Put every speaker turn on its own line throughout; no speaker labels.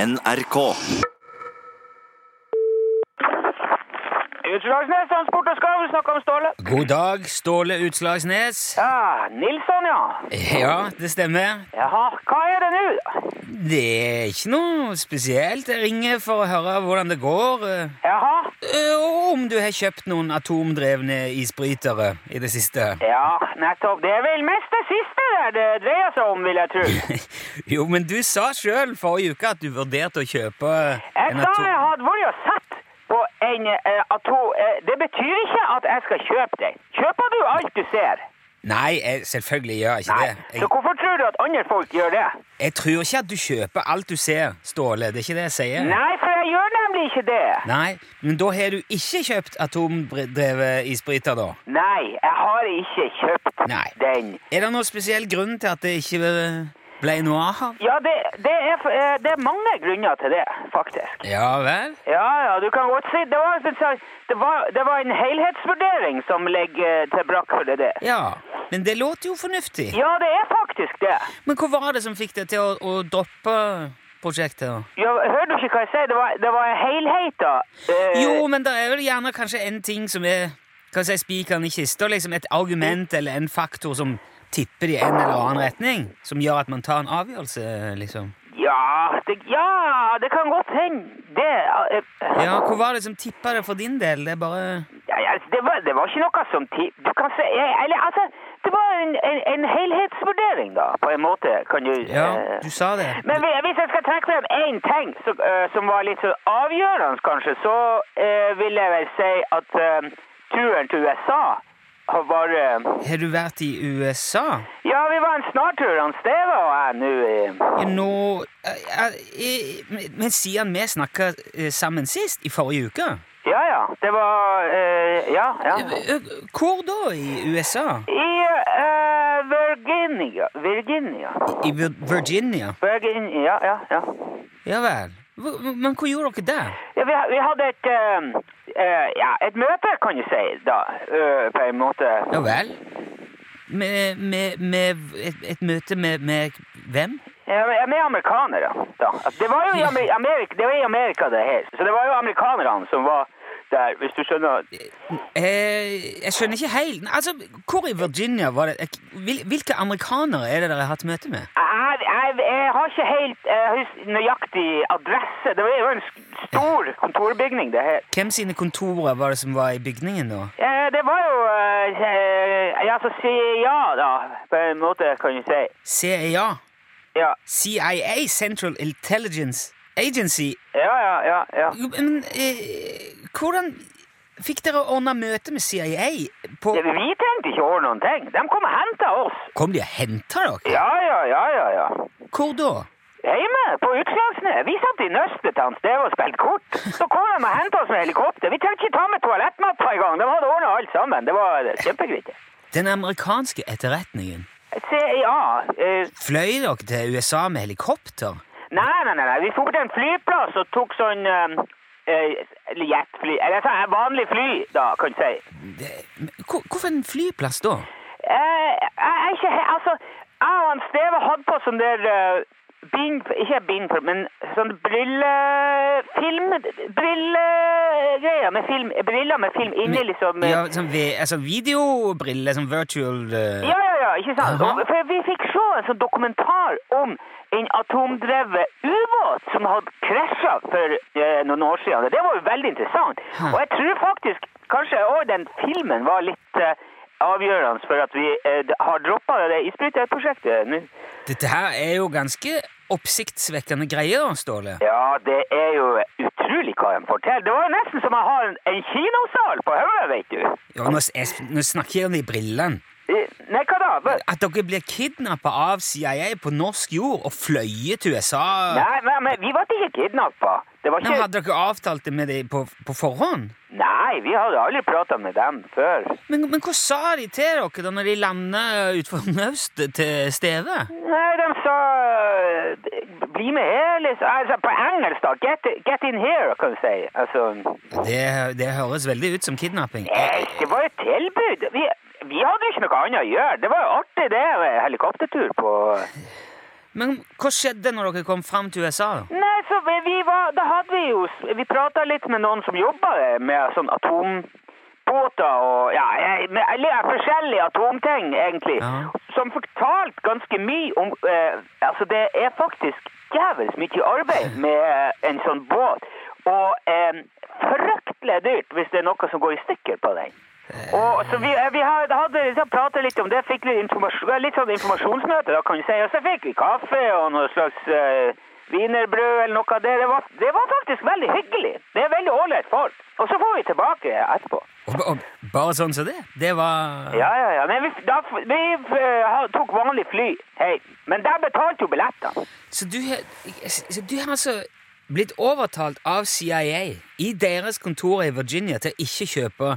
NRK.
Utslagsnes Transport og Skarv snakker om Ståle.
God dag, Ståle Utslagsnes.
Ja, Nilsson, ja.
Ja, det stemmer.
Jaha, hva er det nå?
Det er ikke noe spesielt. Jeg ringer for å høre hvordan det går. eh,
Jaha,
Og om du har kjøpt noen atomdrevne isbrytere i det siste.
ja, nettopp. Det er vel mest det siste der det dreier seg om, vil jeg tro.
Jo, men du sa sjøl forrige uke at du vurderte å kjøpe
Jeg
en
sa
atom...
jeg hadde vært og sett på en eh, atom... Eh, det betyr ikke at jeg skal kjøpe det. Kjøper du alt du ser?
Nei, jeg, selvfølgelig gjør jeg ikke
Nei.
det.
Så
Jeg,
hvorfor tror du at andre folk gjør det?
jeg tror ikke at du kjøper alt du ser, Ståle. Det er ikke det jeg sier.
Nei, for jeg gjør nemlig ikke det.
Nei, men da har du ikke kjøpt atomdrevet isbryter, da?
Nei, jeg har ikke kjøpt
Nei.
den.
Er det noen spesiell grunn til at det ikke ble noe av?
Ja, det, det, er, f- eh, det er mange grunner til det, faktisk.
Ja vel?
Ja, ja, du kan godt si det var, det var, det var en helhetsvurdering som ligger eh, til brakk for det der.
Ja, men det låter jo fornuftig.
Ja, det er faktisk det.
Men hva var det som fikk deg til å, å droppe prosjektet? da?
Ja, hører du ikke hva jeg sier? Det var, det var en helhet, da. Eh,
Jo, men det er vel gjerne kanskje en ting som er hva skal jeg si, spikeren i kista, liksom et argument eller en faktor som tipper i en eller annen retning, som gjør at man tar en avgjørelse, liksom.
Ja, det, ja, det kan godt hende. Det, eh,
Ja, hva var det som tippa det for din del? Det er bare
ja, ja, det, var, det var ikke noe som ti... Du kan si eh, Eller altså, det var en, en, en helhetsvurdering, da, på en måte, kan du
Ja,
eh,
du sa det.
Men vi- hvis jeg skal trekke frem én ting som, eh, som var litt så avgjørende, kanskje, så eh, vil jeg vel si at eh, turen til USA har vært eh,
Har du vært i USA?
Ja, vi var en snartur. Han Steve og jeg nå eh,
Ja, Nå eh, eh, men- Men siden vi snakka sammen sist, i forrige uke
Ja, ja. Det var eh, Ja, ja.
eh, eh, Hvor da i USA?
I eh, Virginia Virginia.
I Vir- Virginia?
Virginia, ja, ja. ja.
Ja vel. Hva- Men hva gjorde dere der?
ja vi, ha- vi hadde et eh, eh, Ja, et møte, kan du si, da, eh, på en måte.
Ja vel. Med, med, med et, et møte med, med hvem?
Ja, men- ja, med amerikanere, da. Altså, Det var jo i Amer- Amerika, det var i Amerika det her. Så det var jo amerikanerne som var der, hvis du skjønner.
Eh, jeg skjønner ikke helt Nei, Altså, Hvor i Virginia var det eh, hvil, Hvilke amerikanere er det dere har hatt møte med?
Jeg, jeg, jeg har ikke helt eh, hus- nøyaktig adresse. Det var jo en sk- stor kontorbygning, det her.
Hvem sine kontorer var det som var i bygningen da?
Eh, det var jo eh, eh, Ja, så si ja, da, på en måte, kan du si.
CIA?
Ja,
CIA, Central Intelligence Agency.
ja, ja. ja, ja.
Jo, Men eh, hvordan fikk dere ordna møte med CIA? På,
Ja, Vi tenkte ikke over noen ting. De kom og henta oss.
kom de og henta dere?
Ja, ja, ja, ja. ja.
Hvor da?
Hjemme, på Utslagsnes. Vi satt i nøstet til hans Steve og spilte kort. Så kom de og hentet oss med helikopter. Vi trengte ikke ta med toalettmappa i gang. De hadde ordnet alt sammen. Det var kjempegritt.
Den amerikanske etterretningen.
Se, ja. eh,
Fløy dere til USA med helikopter?
nei, nei, nei, nei. Vi dro til en flyplass og tok sånn eh, eh, Eller jetfly. Eller sånn vanlig fly, da, kan du si.
Det, men hvor, hvorfor en flyplass da?
Eh, jeg er ikke he- Altså, jeg og han Steve hadde på sånn der eh, bind... Ikke bind, men sånn brille... Film... Brillegreier med film. Briller med film inni, liksom. eh,
Ja, sånn vi, altså videobrille, sånn virtual eh,
Ja, ja, ja, ikke sant?
Aha.
Og, for vi fikk se en sånn dokumentar om en atomdrevet ubåt som hadde krasja for eh, noen år siden. Det var jo veldig interessant.
Hm.
Og jeg tror faktisk kanskje også den filmen var litt eh, avgjørende for at vi eh, d- har droppa det isbryterprosjektet nå.
Dette her er jo ganske oppsiktsvekkende greier, Ståle.
Ja, det er jo utrolig hva de forteller. Det var jo nesten som jeg har en, en kinosal på hodet, vet du.
Ja, nå, s- jeg, nå snakker jeg om de brillene.
Eh, Nei, hva da? Hva-
At dere blir kidnappa av CIA på norsk jord og fløyet til USA
Nei, men, men vi ble ikke kidnappa. Det var
Nei,
ikke
Hadde dere avtalt det med dem på, på forhånd?
Nei, vi hadde aldri prata med dem før.
Men, men hva sa de til dere da når de landa utenfor Naust til Steve?
Nei, de sa eh, Bli med her, liksom. Altså, på engelsk, da. Get, get in here, kan du si. Altså
Det, det høres veldig ut som kidnapping.
Nei, det var jo et tilbud. Vi, vi hadde jo ikke noe annet å gjøre. Det var jo artig, det. Helikoptertur på
Men hva skjedde når dere kom fram til USA? da?
Nei, altså, vi- vi var, da hadde vi jo s- Vi prata litt med noen som jobba med sånn atombåter og ja, jeg- med, eller, forskjellige atomting, egentlig.
Ja.
Som fortalte ganske mye om eh, Altså, det er faktisk jævlig mye arbeid med eh, en sånn båt. Og eh, fryktelig dyrt hvis det er noe som går i stykker på den. Og, så vi, eh, vi har- hadde liksom pratet litt om det, fikk litt, informasjon, litt sånn informasjonsmøte, da kan du si. Og så fikk vi kaffe og noe slags eh, wienerbrød eller noe av det. Det var, det var faktisk veldig hyggelig. Det er veldig ålreit folk. Og så får vi tilbake etterpå.
Og, og, bare sånn som det? Det var
Ja, ja, ja. Men vi, da, f- vi eh, ha- tok vanlig fly. Hei. Men der betalte jo billettene.
Så du, har- så du har altså blitt overtalt av CIA i deres kontor i Virginia til å ikke kjøpe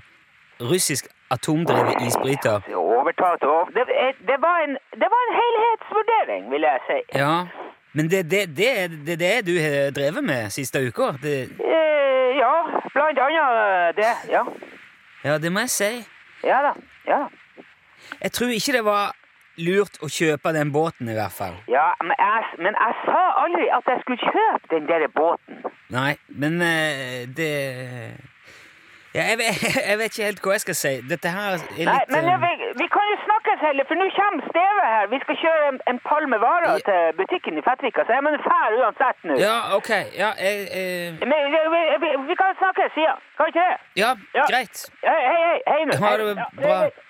russisk atomdrevet isbryter?
Det Overtalte over. Det, eh, det, var en, det var en helhetsvurdering, vil jeg si.
Ja, men det er det, det, er- det, er det du har drevet med siste uka? Det,
Eh, ja, blant annet eh, det. Ja.
ja, det må jeg si.
Ja da. Ja.
Jeg tror ikke det var lurt å kjøpe den båten i hvert fall.
Ja, men jeg, men jeg sa aldri at jeg skulle kjøpe den der båten.
Nei, men eh, det ja, jeg, vet, jeg vet ikke helt hva jeg skal si. Dette her er litt
Nei, men jeg,
eh,
vil- vi kan jo snakkes heller, for nå kommer Steve her. Vi skal kjøre en, en pall med varer
Ja.
til butikken i Fettvika, så jeg må fære uansett nå.
Ja, ok. Ja, jeg, eh,
Men vi, vi, vi, vi kan snakkes, ja. Kan ikke det?
ja,
Ja.
greit.
Hei, hei, hei, hei nå.
Ha det
Ja,
bra.
hei, hei.